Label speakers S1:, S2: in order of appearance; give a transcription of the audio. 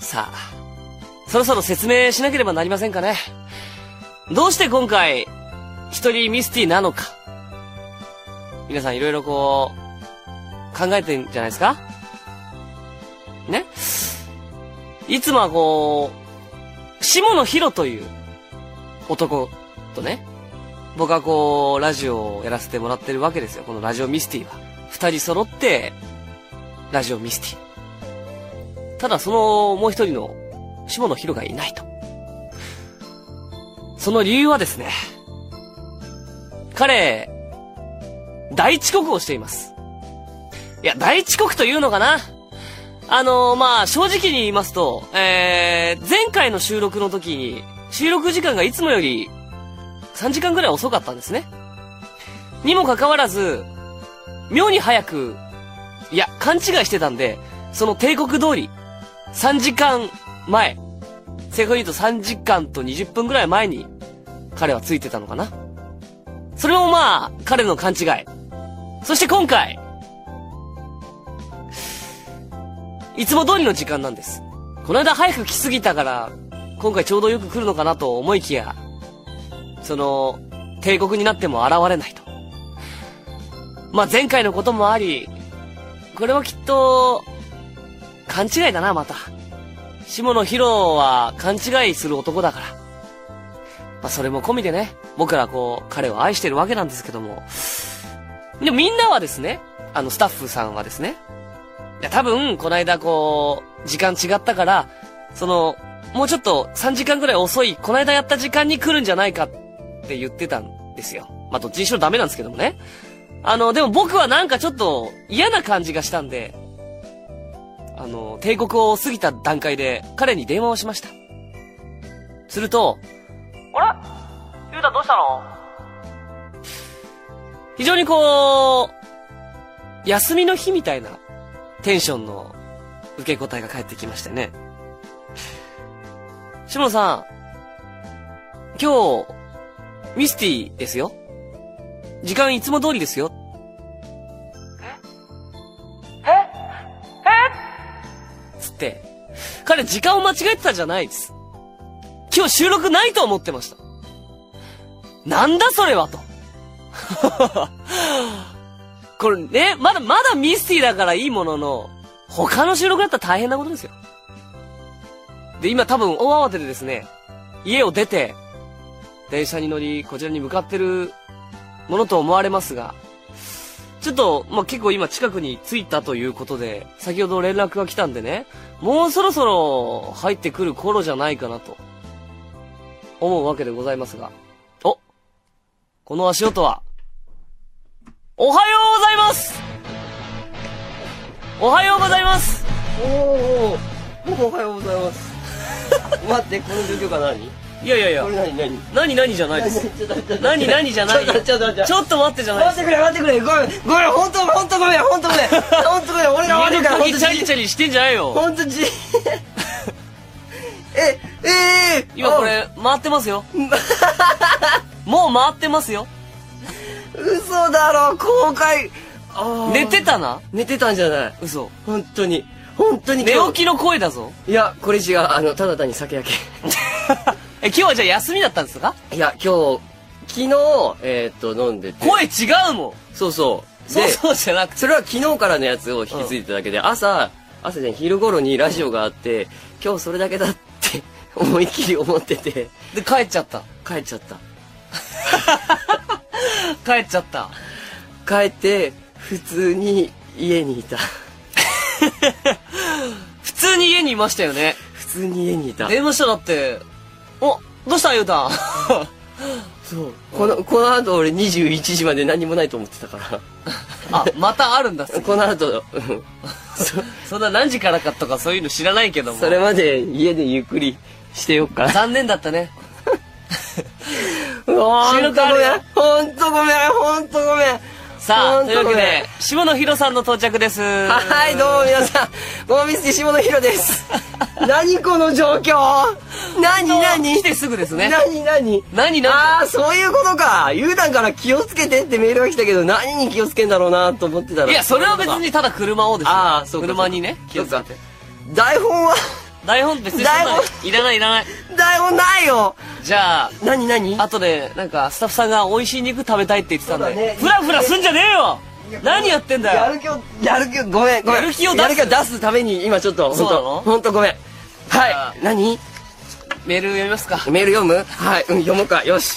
S1: さあ、そろそろ説明しなければなりませんかね。どうして今回、一人ミスティなのか。皆さんいろいろこう、考えてんじゃないですかねいつもはこう、下野博という男とね、僕はこう、ラジオをやらせてもらってるわけですよ。このラジオミスティは。二人揃って、ラジオミスティ。ただそのもう一人の下野博がいないと。その理由はですね、彼、大遅刻をしています。いや、大遅刻というのかなあのまあ、正直に言いますと、えー、前回の収録の時に、収録時間がいつもより3時間ぐらい遅かったんですね。にもかかわらず、妙に早く、いや、勘違いしてたんで、その帝国通り、3時間前、正確に言うと3時間と20分ぐらい前に、彼はついてたのかな。それもまあ、彼の勘違い。そして今回、いつも通りの時間なんです。この間早く来すぎたから、今回ちょうどよく来るのかなと思いきや、その、帝国になっても現れないと。まあ、前回のこともあり、これはきっと、勘違いだな、また。下野博は勘違いする男だから。まあ、それも込みでね、僕らはこう、彼を愛してるわけなんですけども。でもみんなはですね、あの、スタッフさんはですね、いや、多分、この間こう、時間違ったから、その、もうちょっと3時間ぐらい遅い、この間やった時間に来るんじゃないかって言ってたんですよ。まあ、どっちにしろダメなんですけどもね。あの、でも僕はなんかちょっと嫌な感じがしたんで、あの、帝国を過ぎた段階で彼に電話をしました。すると、あれゆうたどうしたの非常にこう、休みの日みたいなテンションの受け答えが返ってきましてね。下野さん、今日、ミスティですよ。時間いつも通りですよ。えええつって、彼時間を間違えてたじゃないです。今日収録ないと思ってました。なんだそれはと。 これね、まだ、まだミスティだからいいものの、他の収録だったら大変なことですよ。で、今多分大慌てでですね、家を出て、電車に乗り、こちらに向かってるものと思われますが、ちょっと、まあ、結構今近くに着いたということで、先ほど連絡が来たんでね、もうそろそろ入ってくる頃じゃないかなと、思うわけでございますが。おこの足音は、おはようございますおはようございます
S2: おーおおはようございます 待ってこの状況が何
S1: いやいやいや
S2: こ、れ何何
S1: 何何じゃないです。
S2: ちょっと待って
S1: 何何じゃない
S2: ちょっと待ってちょっと待って
S1: ちょっと待ってじゃないで
S2: 待っ
S1: す。
S2: てくれ待ってくれごめんごめん本当本当ごめん本当ご めん本当ごめん俺が悪いから本
S1: 家の鍵チャリチ
S2: 当
S1: ャリしてんじゃないよ。
S2: 本当じ えええ
S1: 今これ、回ってますよ。もう回ってますよ。
S2: お嘘だろ公開あー
S1: 寝てたな
S2: 寝てたんじゃない
S1: 嘘。
S2: 本当に本当に
S1: 寝
S2: 今日
S1: 起きの声だぞ。
S2: いやこれ違うあのただ単に酒焼け
S1: え、今日はじゃあ休みだったんですか
S2: いや今日昨日えー、っと飲んでて
S1: 声違うもん。
S2: そうそう
S1: そう
S2: で
S1: そうじゃなくて。
S2: それは昨日からのやつを引き継いでただけで、朝朝じゃん昼頃にラジオがあって今日それだけだって 思いっきり思ってて
S1: で、帰っちゃった。
S2: 帰っちゃった
S1: 帰っちゃった。
S2: 帰って普通に家にいた
S1: 普通に家にいましたよね。
S2: 普通に家にいた
S1: 電話しただって、お、どうしたゆう たん。
S2: そうこのこの後俺21時まで何もないと思ってたから
S1: あ、またあるんだ。
S2: この後、うん、そ
S1: そんな何時からかとかそういうの知らないけども。
S2: それまで家でゆっくりしてよっかな
S1: 残念だったね。
S2: うわー
S1: 収 録あるよ
S2: ほんとごめんほんとごめんほんとごめん
S1: さ
S2: ほ
S1: あ、
S2: ん
S1: というわ
S2: ごめ
S1: け
S2: ん
S1: で、下野紘さんの到着です。
S2: はい、どうも皆さん、ゴミスケ下野紘 です。何この状況何何
S1: 来てすぐですね。
S2: 何何
S1: 何
S2: あ
S1: 何
S2: あ、そういうことか。ゆうたんから気をつけてってメールが来たけど、何に気をつけんだろうなと思ってたら。
S1: いや、それは別。にただ車をですよ
S2: ああ、そうか。
S1: 車にね、
S2: 気
S1: 気
S2: を
S1: を
S2: つ
S1: つ
S2: け
S1: け
S2: て
S1: て。。
S2: 台本は
S1: 台本別にそんな
S2: 台
S1: いらないいらない。
S2: 台本ないよ
S1: じゃあ、
S2: 何何
S1: あとで、なんか、スタッフさんが美味しい肉食べたいって言ってたん
S2: そうだ
S1: で
S2: ね、
S1: フラフラすんじゃねえよ何やってんだ
S2: や
S1: よ
S2: る気をやる気をごめんごめん
S1: やる気を出す
S2: やる気を出すために今ちょっと
S1: そう
S2: 本
S1: なの
S2: 当本当ごめん
S1: じゃ
S2: は
S1: あ
S2: い何
S1: メール読みますか。
S2: メール読むはい、うん、読もうかよし